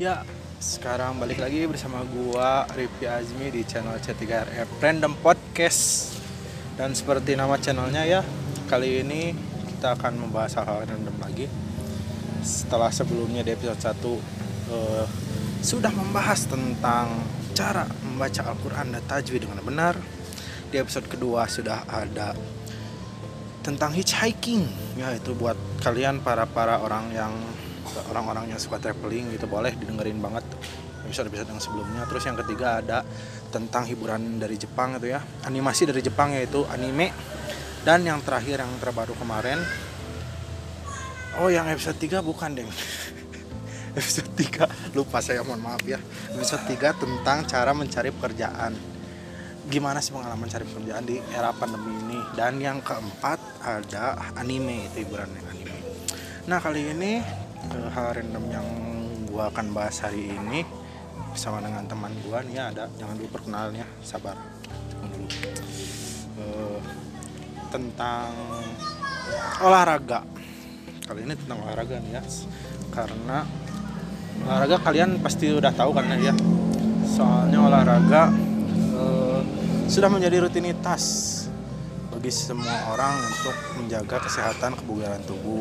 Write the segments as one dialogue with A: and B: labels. A: Ya, sekarang balik lagi bersama gua Rifki Azmi di channel C3RF Random Podcast. Dan seperti nama channelnya ya, kali ini kita akan membahas hal-hal random lagi. Setelah sebelumnya di episode 1 eh, sudah membahas tentang cara membaca Al-Qur'an dan tajwid dengan benar. Di episode kedua sudah ada tentang hitchhiking ya itu buat kalian para para orang yang orang-orang yang suka traveling gitu boleh didengerin banget episode episode yang sebelumnya terus yang ketiga ada tentang hiburan dari Jepang itu ya animasi dari Jepang yaitu anime dan yang terakhir yang terbaru kemarin oh yang episode 3 bukan deh episode 3 lupa saya mohon maaf ya episode 3 tentang cara mencari pekerjaan gimana sih pengalaman cari pekerjaan di era pandemi ini dan yang keempat ada anime itu hiburan yang anime nah kali ini eh, hal random yang gua akan bahas hari ini bersama dengan teman gua nih ya ada jangan dulu perkenalannya sabar Jangan dulu Eh, tentang olahraga kali ini tentang olahraga nih ya karena olahraga kalian pasti udah tahu kan ya soalnya olahraga eh, sudah menjadi rutinitas bagi semua orang untuk menjaga kesehatan kebugaran tubuh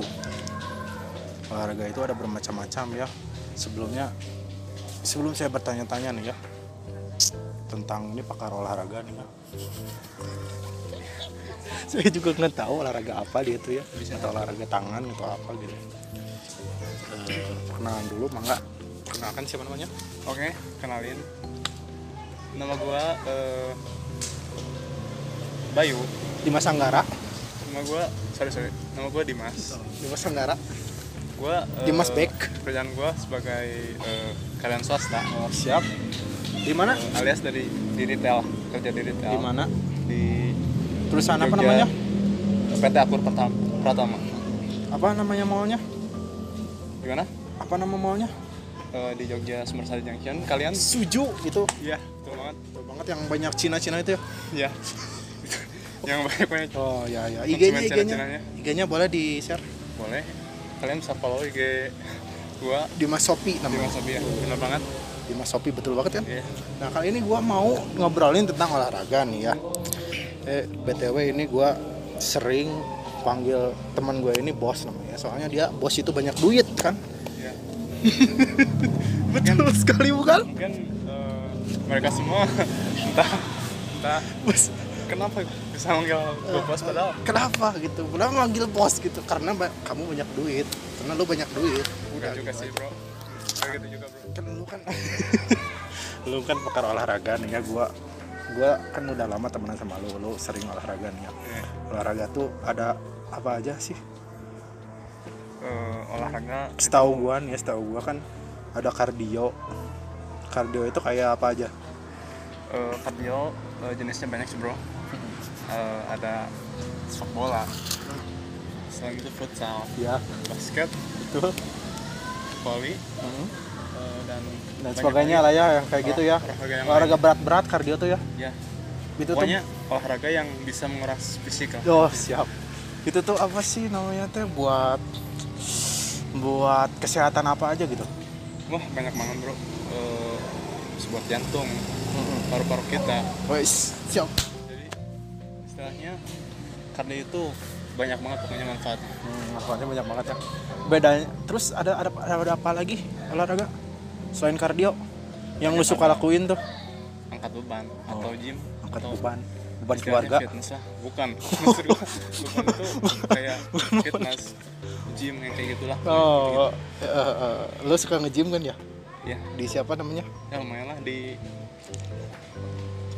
A: olahraga itu ada bermacam-macam ya sebelumnya sebelum saya bertanya-tanya nih ya tentang ini pakar olahraga nih ya saya juga nggak tahu olahraga apa dia tuh ya atau olahraga tangan atau apa gitu Eh, perkenalan dulu mangga perkenalkan siapa namanya
B: Oke, kenalin. Nama gua eh, Bayu.
A: Dimas Anggara
B: Nama gua sorry sorry. Nama gua Dimas.
A: Dimas Anggara
B: Gua eh,
A: Dimas Beck.
B: Kerjaan gua sebagai eh, karyawan swasta
A: oh, siap di mana
B: alias dari di retail, kerja di retail.
A: di mana
B: Di
A: perusahaan apa
B: Jogja,
A: namanya
B: PT Akur Pertam- Pratama.
A: apa namanya mallnya
B: Di mana?
A: apa nama mallnya
B: Eh, di Jogja Sumbersari Junction. Kalian?
A: Suju itu
B: Iya, betul banget.
A: Betul banget yang banyak Cina-Cina itu ya.
B: Iya. Yang banyak-banyak
A: Oh ya ya.
B: Konsumen
A: IG-nya IG-nya
B: Cina-Cinanya.
A: IG-nya boleh di share
B: boleh. Kalian bisa follow IG gua
A: di Mas Shopee
B: Dimas
A: namanya.
B: Sabia. Benar banget.
A: Di Mas Shopee betul banget kan?
B: Iya.
A: Nah, kali ini gua mau ngobrolin tentang olahraga nih ya. Eh BTW ini gua sering panggil teman gue ini bos namanya. Soalnya dia bos itu banyak duit kan.
B: Iya.
A: Betul sekali bukan?
B: mungkin eh, mereka semua entah entah
A: Bos
B: kenapa bisa manggil gue bos padahal
A: kenapa gitu? Kenapa manggil bos gitu? Karena ba- kamu banyak duit. Karena lu banyak duit. Udah,
B: enggak juga
A: gitu
B: sih
A: aja.
B: bro enggak gitu juga bro
A: kan lu kan lu kan pakar olahraga nih ya gua gua kan udah lama temenan sama lu lu sering olahraga nih ya
B: Iya.
A: olahraga tuh ada apa aja sih
B: Eh, olahraga
A: setahu gua nih ya setahu gua kan ada kardio kardio itu kayak apa aja
B: eh, kardio eh, jenisnya banyak sih bro Eh, ada sepak bola selain itu futsal
A: ya
B: basket
A: betul
B: volley eh, dan
A: dan
B: banyak
A: sebagainya lah
B: lagi.
A: ya yang kayak gitu ya
B: Olahraga yang
A: olahraga berat-berat kardio tuh ya
B: ya
A: itu
B: pokoknya olahraga yang bisa menguras fisik lah
A: tuh oh siap itu tuh apa sih namanya teh buat buat kesehatan apa aja gitu
B: wah banyak banget bro Eh, sebuah jantung paru-paru kita
A: wes siap
B: jadi istilahnya karena itu banyak banget pokoknya manfaatnya
A: Hmm, manfaatnya banyak banget ya. Bedanya terus ada ada ada apa lagi olahraga selain kardio yang lu suka lakuin tuh
B: angkat beban atau gym
A: Oh, angkat
B: atau
A: beban beban
B: istilahnya
A: keluarga
B: fitness lah bukan maksud gua beban itu kayak fitness gym yang kayak gitulah
A: oh eh, eh, eh, lu suka nge-gym kan ya
B: ya
A: di siapa namanya
B: ya lumayan lah di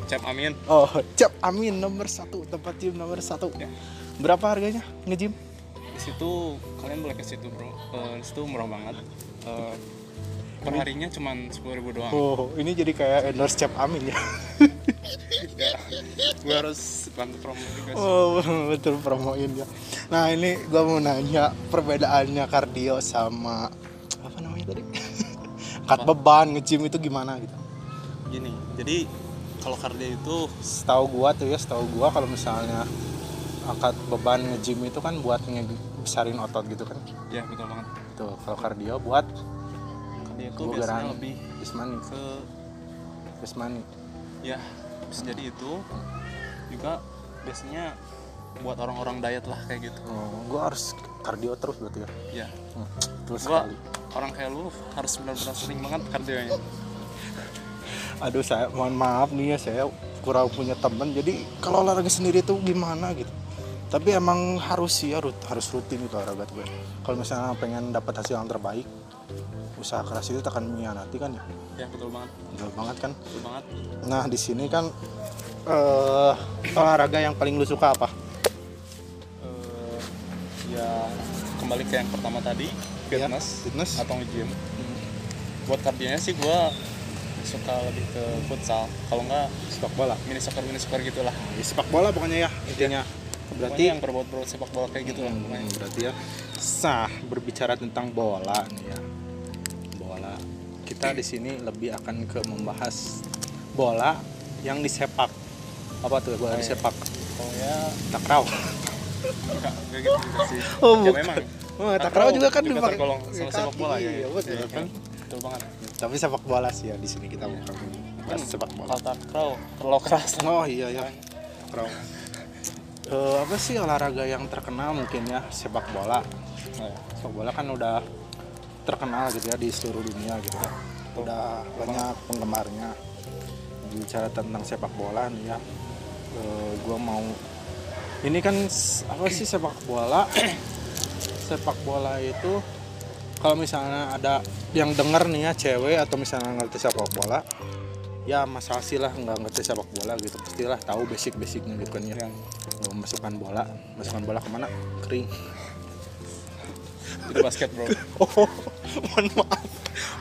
B: cap amin
A: oh cap amin nomor satu tempat gym nomor satu
B: Ya.
A: berapa harganya nge-gym
B: di situ kalian boleh ke situ bro Eh, di situ murah banget Eh, perharinya cuma sepuluh ribu doang
A: oh ini jadi kayak endorse cap amin ya
B: Ya, gua harus bantu promo juga sih
A: Oh betul promoin ya. Nah ini gue mau nanya perbedaannya kardio sama apa namanya tadi? Angkat beban nge-gym itu gimana gitu?
B: gini jadi kalau kardio itu
A: Setahu gua tuh ya, setahu gua kalau misalnya angkat beban nge-gym itu kan buat ngebesarin otot gitu kan.
B: Ya betul banget.
A: Tuh kalau kardio buat
B: Tadi itu biasanya
A: Bugeran.
B: lebih
A: Jasmani.
B: ke
A: Jasmani.
B: ya bisa jadi itu juga biasanya buat orang-orang diet lah kayak gitu
A: Oh, gua harus kardio terus berarti ya.
B: ya
A: Hmm, Terus
B: gua
A: sekali.
B: orang kayak lu harus benar-benar sering banget kardionya
A: Aduh saya mohon maaf nih ya saya kurang punya teman. Jadi kalau olahraga sendiri tuh gimana gitu. Tapi emang harus sih harus harus rutin itu olahraga tuh. Kalau misalnya pengen dapat hasil yang terbaik, usaha keras itu tak akan mengkhianati kan ya.
B: ya betul banget
A: Betul banget kan.
B: betul banget
A: Nah di sini kan eh olahraga yang paling lu suka apa?
B: Eh, ya kembali ke yang pertama tadi
A: Ya,
B: fitness,
A: fitness.
B: atau nge-gym
A: Hmm.
B: buat kardionya sih gua suka lebih ke futsal kalau nggak
A: Sepak bola.
B: mini soccer mini soccer gitulah
A: sepak bola pokoknya ya intinya. Berarti
B: Pokoknya yang berbau-bau sepak bola kayak gitu lah
A: Hmm,
B: pokoknya.
A: berarti ya sah berbicara tentang bola nih ya. Bola. Kita di sini lebih akan ke membahas bola yang disepak. Apa tuh bola
B: Oh, iya.
A: disepak?
B: kalau ya
A: Takraw.
B: nggak nggak gitu juga sih
A: Oh,
B: ya
A: bukan.
B: memang
A: Wah, takraw juga kan
B: juga
A: dipakai-
B: tergolong sama
A: kaki,
B: sepak bola ya
A: iya, betul
B: Iya,
A: kan.
B: betul banget
A: Tapi sepak bola sih ya di sini kita bukan
B: kan
A: bahas sepak bola.
B: kalau takraw terlalu keras lah
A: Oh iya ya. Takraw. Eh, apa sih olahraga yang terkenal mungkin ya sepak bola sepak bola kan udah terkenal gitu ya di seluruh dunia gitu ya. udah banyak penggemarnya bicara tentang sepak bola nih ya Eh gue mau ini kan s- apa sih sepak bola sepak bola itu kalau misalnya ada yang denger nih ya cewek atau misalnya ngerti sepak bola ya masalah sih lah nggak ngerti sepak bola gitu pastilah tahu basic basicnya gitu kan ya
B: yang
A: Eh, masukkan bola masukkan bola kemana kering
B: itu basket bro
A: Oh, mohon maaf.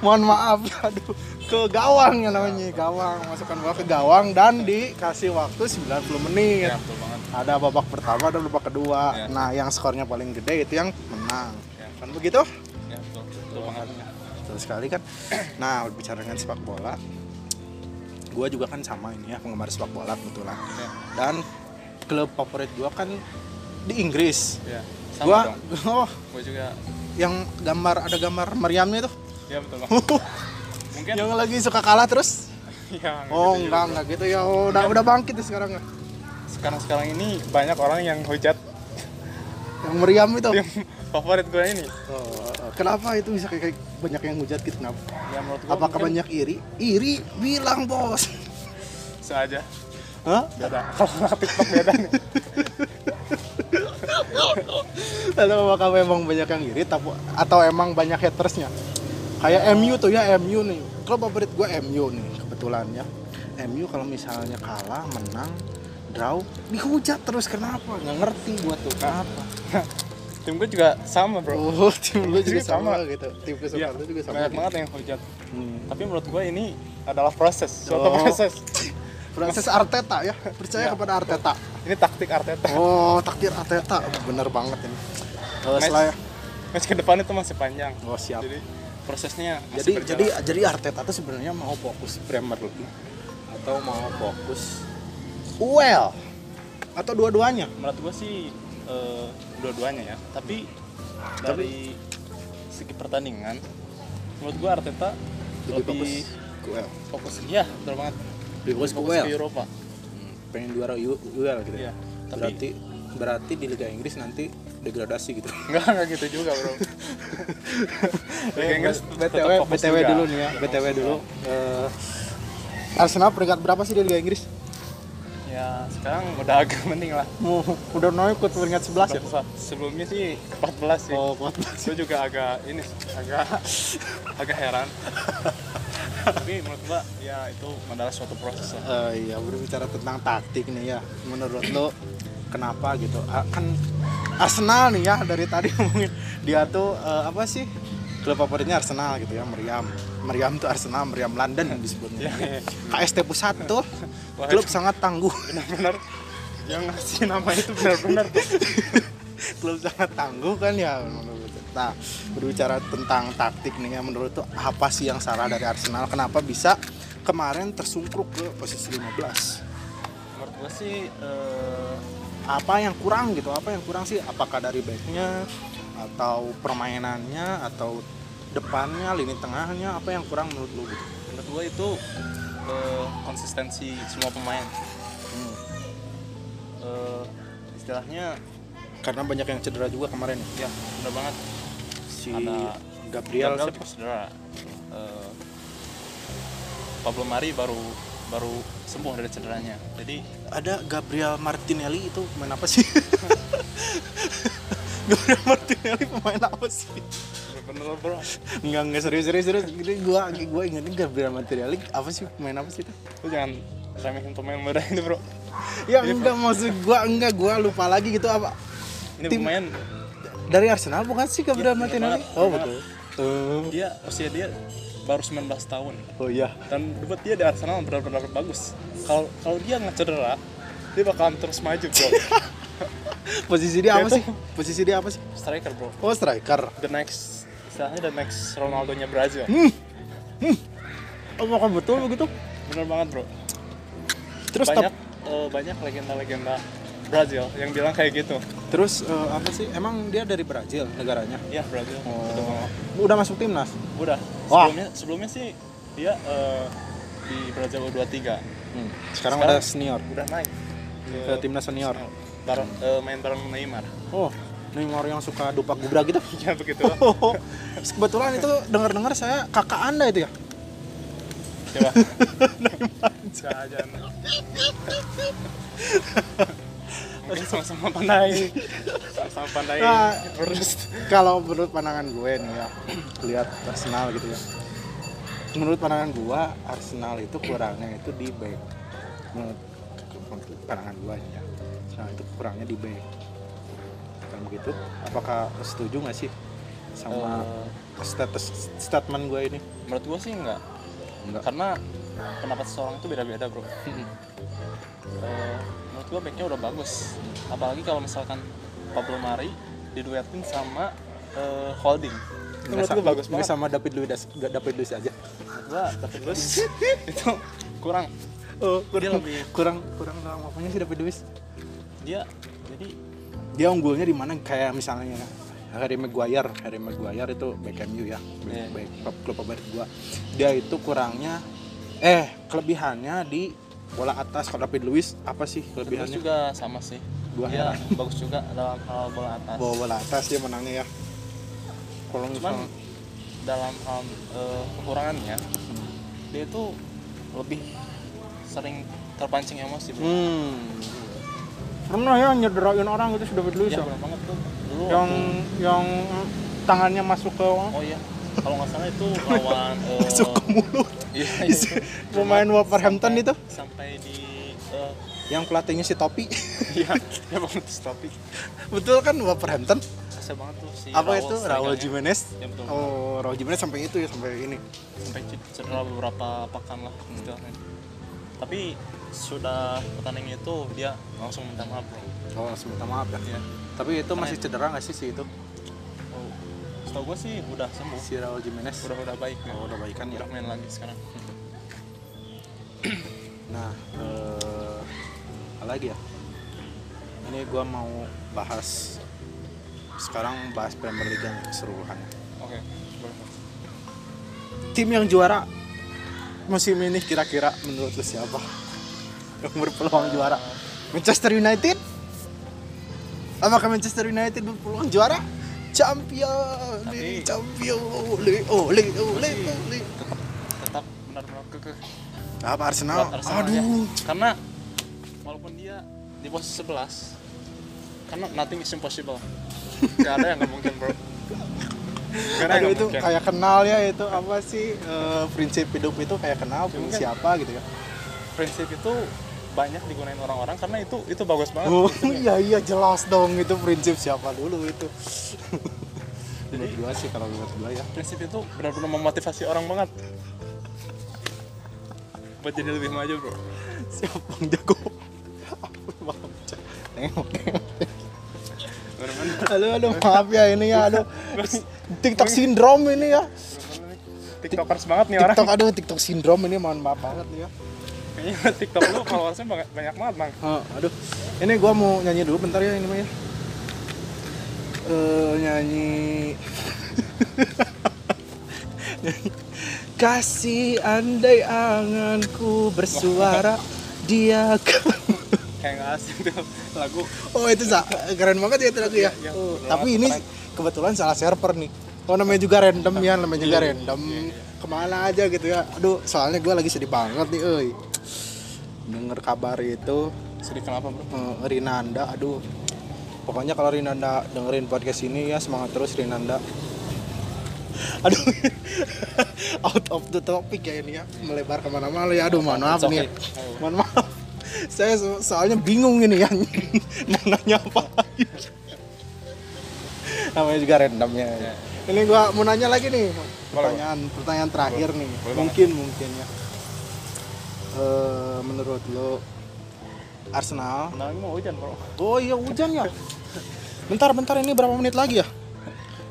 A: Mohon maaf. Aduh, ke gawang ya namanya, gawang. Masukkan bola ke gawang dan dikasih waktu 90 menit.
B: ya betul banget
A: Ada babak pertama dan babak kedua.
B: Ya.
A: Nah, yang skornya paling gede itu yang menang.
B: Ya.
A: Kan begitu?
B: ya betul betul banget
A: Betul sekali kan. Nah, berbicara dengan sepak bola, gue juga kan sama ini ya penggemar sepak bola kebetulan.
B: Ya.
A: Dan klub favorit gue kan di Inggris.
B: ya sama
A: Gue,
B: dong
A: oh,
B: gue juga
A: yang gambar ada gambar meriamnya tuh.
B: ya betul banget mungkin
A: yang lagi suka kalah terus
B: ya, nggak
A: oh
B: gitu juga,
A: enggak
B: bro.
A: enggak gitu ya oh, udah udah bangkit ya sekarang ya.
B: sekarang sekarang ini banyak orang yang hujat
A: yang meriam itu
B: tim favorit gue ini
A: Oh, kenapa itu bisa kayak, kayak banyak yang hujat gitu kenapa
B: ya menurut gue
A: apakah
B: mungkin
A: banyak iri iri bilang bos
B: sengaja
A: Hah?
B: beda kalau nggak tiktok beda nih
A: atau apakah emang banyak yang iri tapi- atau emang banyak hatersnya kayak MU tuh ya MU nih klub favorit gue MU nih kebetulan ya MU kalau misalnya kalah menang draw dihujat terus kenapa nggak ngerti gue tuh kenapa
B: tim gue juga sama bro
A: oh tim lu juga
B: Iya, sama.
A: sama, gitu tim
B: Iya,
A: kesukaan lu juga sama
B: banyak
A: gitu.
B: banget yang hujat
A: Hmm.
B: tapi menurut gue ini adalah proses suatu
A: Oh.
B: proses
A: Francis Arteta ya, percaya
B: Iya.
A: kepada Arteta.
B: ini taktik Arteta
A: Oh, takdir Arteta bener banget ini. Kalau
B: Match-
A: salah ya.
B: match ke depan itu masih panjang
A: Oh, siap.
B: jadi prosesnya
A: Jadi
B: masih
A: jadi
B: berjalan.
A: jadi Arteta tuh sebenarnya mau fokus Premier League atau mau fokus UEL atau dua-duanya?
B: menurut gue sih eh, dua-duanya ya tapi dari segi pertandingan menurut gue Arteta
A: Lebih
B: lebih,
A: fokus ke UEL.
B: fokus ya betul banget
A: Lebih fokus ke
B: fokus
A: UEL.
B: ke Eropa
A: Pengen juara U- UEL gitu ya.
B: Iya, tapi-
A: Berarti berarti di Liga Inggris nanti degradasi gitu.
B: Enggak, enggak gitu juga bro Liga Inggris
A: Eh,
B: tetap
A: BTW
B: fokus
A: BTW
B: juga.
A: dulu nih ya,
B: Tetap
A: BTW
B: fokus
A: dulu.
B: juga.
A: Eh, Arsenal peringkat berapa sih di Liga Inggris?
B: Ya, sekarang udah agak mending lah
A: Mau udah naik ke peringkat 11 ya?
B: Berapa? Sebelumnya sih 14 sih
A: Oh, 14.
B: Gue juga agak ini, agak agak heran Tapi menurut gua, ya itu adalah suatu proses lah
A: Eh, iya, berbicara tentang taktik nih ya. Menurut lo kenapa gitu? Ah, Kan Arsenal nih ya dari tadi ngomongin dia tuh eh, apa sih? Klub favoritnya Arsenal gitu ya, meriam. Meriam tuh Arsenal, meriam London disebutnya.
B: Iya, iya.
A: KST Pusat tuh
B: Wah,
A: klub sangat tangguh.
B: Benar-benar yang ngasih nama itu benar-benar tuh
A: klub sangat tangguh kan ya menurut gue. nah berbicara tentang taktik nih ya menurut tuh apa sih yang salah dari Arsenal kenapa bisa kemarin tersungkruk ke posisi 15
B: Menurut gua sih, eh,
A: apa yang kurang gitu apa yang kurang sih apakah dari backnya atau permainannya atau depannya, lini tengahnya apa yang kurang menurut lu gitu?
B: menurut gue itu eh, konsistensi semua pemain Hmm. Eh, istilahnya
A: Karena banyak yang cedera juga kemarin ya.
B: ya bener banget
A: Si
B: Ada
A: Gabriel,
B: Gabriel
A: siapa?
B: juga cedera Eh, Pablo Mari baru baru sembuh dari cederanya jadi
A: ada Gabriel Martinelli itu pemain apa sih? Gabriel Martinelli pemain apa sih?
B: bener bro
A: Enggak, enggak serius, serius, serius. Jadi gua gua ingetin Gabriel Martinelli apa sih pemain apa sih itu?
B: lu jangan remehin pemain muda ini bro
A: Ya enggak maksud gua enggak gua lupa lagi gitu apa
B: ini
A: Tim-
B: pemain
A: dari Arsenal bukan sih Gabriel
B: Iya,
A: Martinelli?
B: bener banget,
A: Oh
B: bener
A: betul. Tuh.
B: dia usia dia baru 19 tahun
A: Oh iya.
B: dan buat dia di Arsenal benar-benar bagus kalau kalau dia nggak cedera dia bakalan terus maju bro
A: Posisi dia apa
B: Dia tuh-
A: sih? Posisi dia apa sih?
B: striker bro
A: Oh striker.
B: the next istilahnya the next Ronaldo nya Brazil
A: Hmm. Oh kok betul begitu?
B: bener banget bro
A: Terus tep-
B: banyak eh, banyak legenda-legenda Brazil yang bilang kayak gitu
A: terus eh, apa sih? Emang dia dari Brazil negaranya?
B: ya Brazil betul
A: Oh.
B: banget.
A: Udah masuk timnas.
B: udah
A: Wah.
B: sebelumnya sebelumnya sih dia eh, di Brazil U23
A: Hmm. Sekarang,
B: Sekarang-
A: udah senior.
B: udah naik
A: Ke timnas senior.
B: bareng eh, main bareng Neymar
A: Oh, Neymar yang suka dupa gubra gitu.
B: ya begitu lah.
A: Kebetulan itu dengar-dengar saya kakak Anda itu ya.
B: coba Jangan. mungkin sama-sama pandai sama-sama pandai
A: Ah.
B: terus
A: Kalau menurut pandangan gue nih ya, lihat Arsenal gitu ya. Menurut pandangan gue, Arsenal itu kurangnya itu di back. Menurut menurut pandangan gue ya, Arsenal itu kurangnya di back. Kalau begitu, apakah lo setuju nggak sih sama
B: Eh,
A: status statement gue ini?
B: menurut gue sih enggak
A: Enggak.
B: karena pendapat seseorang itu beda-beda bro Eh, menurut gue backnya udah bagus apalagi kalau misalkan Pablo Mari diduetin sama eh, Holding itu menurut gue bagus banget
A: sama David Luiz, David Luiz aja.
B: menurut gue dapet terus itu kurang
A: Oh,
B: Dia
A: kurang,
B: lebih-
A: kurang kurang dalam apanya sih David Luiz?
B: dia jadi
A: Dia unggulnya di mana kayak misalnya Harry Maguire, Harry Maguire itu back MU ya, back,
B: Iya.
A: back klub, klub favorit gua. Dia itu kurangnya eh kelebihannya di bola atas kalau David Luiz apa sih
B: terus
A: kelebihannya?
B: juga sama sih
A: Gua heran.
B: dia bagus juga dalam hal bola atas
A: Bawa bola atas dia menangnya ya. Kalau
B: cuman
A: misalnya
B: dalam hal eh, kekurangannya dia itu lebih sering terpancing emosi bro.
A: hmm. Pernah ya nyederain orang gitu si David Luiz ya?
B: ya benar banget tuh dulu
A: Yang
B: waktu-
A: yang tangannya masuk ke
B: oh iya kalau nggak salah itu lawan eh,
A: masuk ke mulut
B: iya, iya.
A: Isi- pemain Wolverhampton itu
B: sampai di eh,
A: yang pelatihnya si Topi
B: iya ya banget tuh topik
A: betul kan Wolverhampton
B: kasih banget tuh si
A: apa itu Raul
B: strikernya.
A: Jimenez
B: Ya, betul.
A: oh Raul Jimenez sampai itu ya sampai ini
B: sampai ced- cedera beberapa pekan lah
A: Hmm.
B: istilahnya tapi sudah pertandingan itu dia langsung minta maaf bro
A: oh langsung minta maaf ya
B: ya
A: tapi itu masih cedera nggak sih si itu
B: oh. setahu gue sih udah sembuh
A: si Raul Jimenez
B: udah udah baik ya.
A: oh, udah baikan ya
B: udah main lagi sekarang Hmm.
A: nah eh, apa lagi ya ini gua mau bahas sekarang bahas Premier League yang keseluruhan
B: oke boleh
A: tim yang juara musim ini kira-kira menurut lu siapa yang berpeluang juara Manchester United apakah Manchester United berpeluang juara champion
B: Tapi-
A: champion ole ole ole ole
B: tetap benar-benar kekeh
A: apa Arsenal, ya.
B: buat Arsenalnya.
A: aduh
B: ya. karena walaupun dia di posisi 11 karena nothing is impossible gak ada yang nggak mungkin bro gak
A: Aduh,
B: ada yang nggak
A: itu
B: mungkin
A: kayak kenal ya itu apa sih eh, prinsip hidup itu kayak kenal punya
B: Mungkin.
A: siapa gitu ya
B: prinsip itu banyak digunain orang-orang karena itu itu bagus banget
A: oh iya iya jelas dong itu prinsip siapa dulu itu menurut gua sih kalau menurut gua ya
B: prinsip itu benar-benar memotivasi orang banget buat jadi lebih maju bro
A: siapa bang jago Ampun, maaf, Cak. Tengok, tengok.
B: benar-benar
A: Halo, halo, maaf ya ini ya, aduh. TikTok syndrome ini ya.
B: tiktokers banget nih orang
A: TikTok, aduh, TikTok syndrome ini mohon maaf banget nih ya.
B: kayaknya tiktok lu followersnya banyak, banyak banget bang
A: Oh, aduh, ini gua mau nyanyi dulu bentar ya ini mah ya. Eh, nyanyi Kasih andai anganku bersuara dia akan-
B: kayak nggak asing tuh lagu
A: Oh itu sa- keren banget ya itu lagu ya.
B: Iya, iya.
A: Oh, tapi ini kebetulan salah server nih. Oh namanya juga random ya, namanya juga
B: Iya,
A: random. Kemana aja gitu ya. Aduh soalnya gue lagi sedih banget nih, euy. Dengar kabar itu
B: sedih kenapa bro
A: eh, Rinanda, aduh. Pokoknya kalau Rinanda dengerin podcast ini ya semangat terus Rinanda. Aduh, out of the topic ya ini ya, melebar kemana-mana ya. Aduh, mohon maaf
B: It's
A: nih. Ya.
B: okay. Ayo.
A: Mohon maaf. Saya so- soalnya bingung ini ya, mau nanya apa lagi. Namanya juga randomnya.
B: Ya.
A: Ini gua mau nanya lagi nih, pertanyaan pertanyaan terakhir nih.
B: Boleh
A: mungkin mungkin ya. Eh, menurut lo Arsenal
B: Nah, ini mau hujan bro
A: Oh iya hujan ya. Bentar bentar ini berapa menit lagi ya?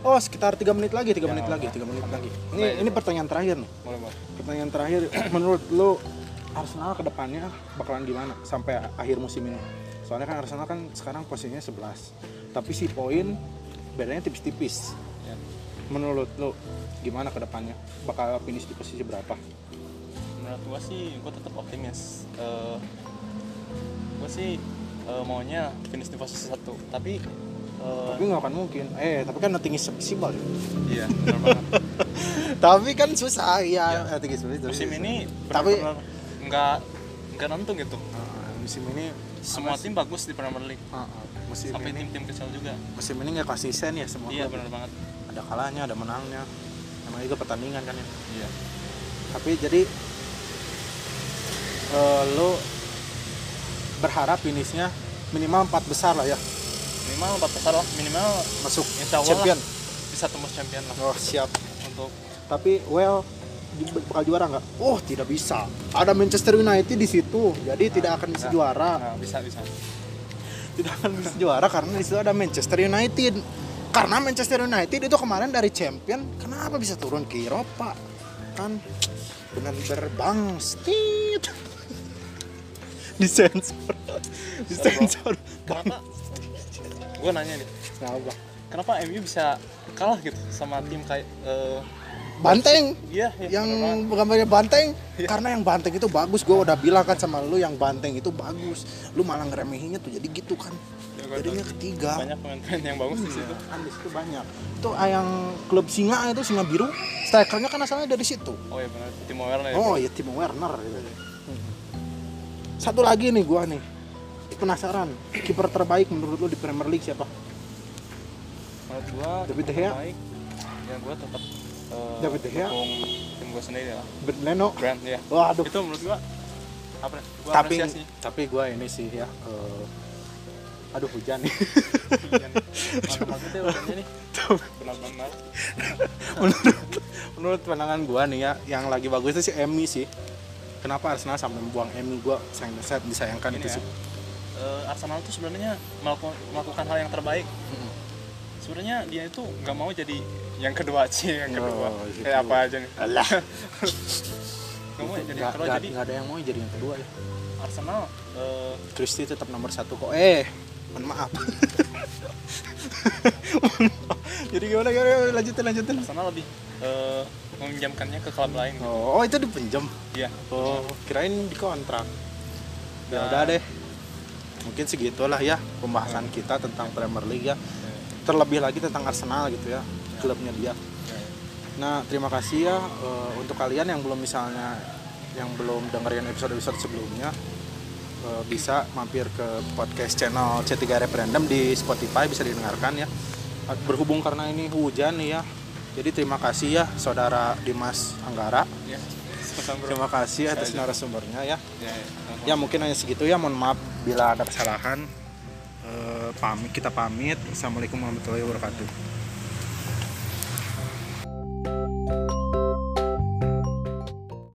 A: Oh sekitar tiga menit lagi, tiga
B: Ya,
A: menit
B: apa.
A: lagi, tiga menit lagi. Ini
B: Baik,
A: ini pertanyaan terakhir nih.
B: boleh boleh
A: Pertanyaan terakhir menurut lo Arsenal kedepannya bakalan gimana sampai akhir musim ini? Soalnya kan Arsenal kan sekarang posisinya 11 tapi si poin bedanya tipis-tipis.
B: Ya.
A: Menurut lo gimana kedepannya? Bakal finish di posisi berapa?
B: menurut gua sih gua tetap optimis Eh gua sih eh, maunya finish di posisi satu tapi eh,
A: Tapi nggak akan mungkin. Eh tapi kan nothing is possible.
B: iya benar banget
A: tapi kan susah ya. Nothing is possible.
B: musim ini
A: Tapi-
B: benar-benar nggak nggak nentu gitu
A: Uh, musim ini
B: semua tim bagus di Premier League
A: uh, uh, musim
B: sampai
A: ini
B: tim-tim kecil juga
A: musim ini nggak konsisten ya semua
B: iya
A: klub.
B: benar banget
A: ada kalahnya ada menangnya namanya juga pertandingan kan ya
B: iya
A: tapi jadi eh, lo berharap finishnya minimal empat besar lah ya
B: minimal empat besar lah minimal
A: masuk
B: Insya Allah
A: champion
B: bisa tembus champion lah
A: oh siap
B: untuk
A: tapi well di- bakal juara nggak? Oh tidak bisa. Ada Manchester United di situ, jadi tidak akan bisa
B: nggak.
A: juara.
B: nah, bisa bisa
A: tidak akan bisa juara karena di situ ada Manchester United. Karena Manchester United itu kemarin dari champion, kenapa bisa turun ke Eropa? Kan benar berbangstit. Disensor. Disensor.
B: kenapa gue nanya nih
A: Kenapa?
B: kenapa MU bisa kalah gitu sama tim kayak eh,
A: Banteng.
B: iya iya
A: Yang
B: bener banget.
A: gambarnya banteng karena yang banteng itu bagus gue udah bilang kan sama lu yang banteng itu bagus lu malah ngeremehinnya tuh jadi gitu kan
B: Ya, gua
A: jadinya
B: tahu.
A: ketiga
B: banyak pemain-pemain yang bagus di situ
A: kan di situ banyak itu ah, yang klub singa itu singa biru strikernya kan asalnya dari situ
B: oh iya benar tim Werner ya
A: oh ya Timo Werner gitu. satu lagi nih gua nih penasaran kiper terbaik menurut lu di Premier League siapa
B: menurut gue
A: David De Gea.
B: baik ya gue tetap eh,
A: David De Gea.
B: dukung tim gue sendiri lah
A: Ben Leno
B: Brand ya
A: waduh
B: itu menurut gue apa gue
A: tapi
B: apresiasi
A: tapi gua ini sih ya eh, aduh hujan nih
B: Maksudnya udah nih benar-benar
A: menurut menurut pandangan gua nih ya yang lagi bagus itu si Emi sih kenapa Arsenal sampai membuang Emi gua sayang sangat disayangkan
B: Ini
A: itu
B: ya.
A: sih
B: eh, Arsenal tuh sebenarnya melaku- melakukan hal yang terbaik
A: Mm-mm.
B: sebenarnya dia itu nggak mau jadi yang kedua sih yang kedua
A: Oh, gitu.
B: kayak apa aja nih
A: Alah,
B: nggak mau jadi yang
A: nggak
B: kedua
A: nggak-
B: jadi
A: nggak ada yang mau jadi yang kedua ya.
B: Arsenal eh,
A: Christie tetap nomor satu kok. Eh, mohon maaf. Mohon maaf. Jadi gimana, gimana, gimana? lanjutin lanjutin.
B: Arsenal lebih eh, meminjamkannya ke klub lain
A: Oh, oh, itu dipinjam.
B: iya
A: Oh, kirain dikontrak. Ya
B: Nah.
A: udah deh. Mungkin segitulah ya pembahasan kita tentang Premier League ya. Terlebih lagi tentang Arsenal gitu ya, klubnya dia. Nah, terima kasih ya eh, untuk kalian yang belum misalnya yang belum dengerin episode-episode sebelumnya eh, bisa mampir ke podcast channel C3 Referendum di Spotify bisa didengarkan ya. Berhubung karena ini hujan nih ya. Jadi terima kasih ya saudara Dimas Anggara.
B: iya sama bro
A: Terima kasih
B: Bisa
A: atas
B: aja.
A: narasumbernya ya.
B: Iya, iya. Sama-sama.
A: Ya mungkin hanya segitu ya. Mohon maaf bila ada kesalahan. Eh, pamit kita pamit. Assalamualaikum warahmatullahi wabarakatuh.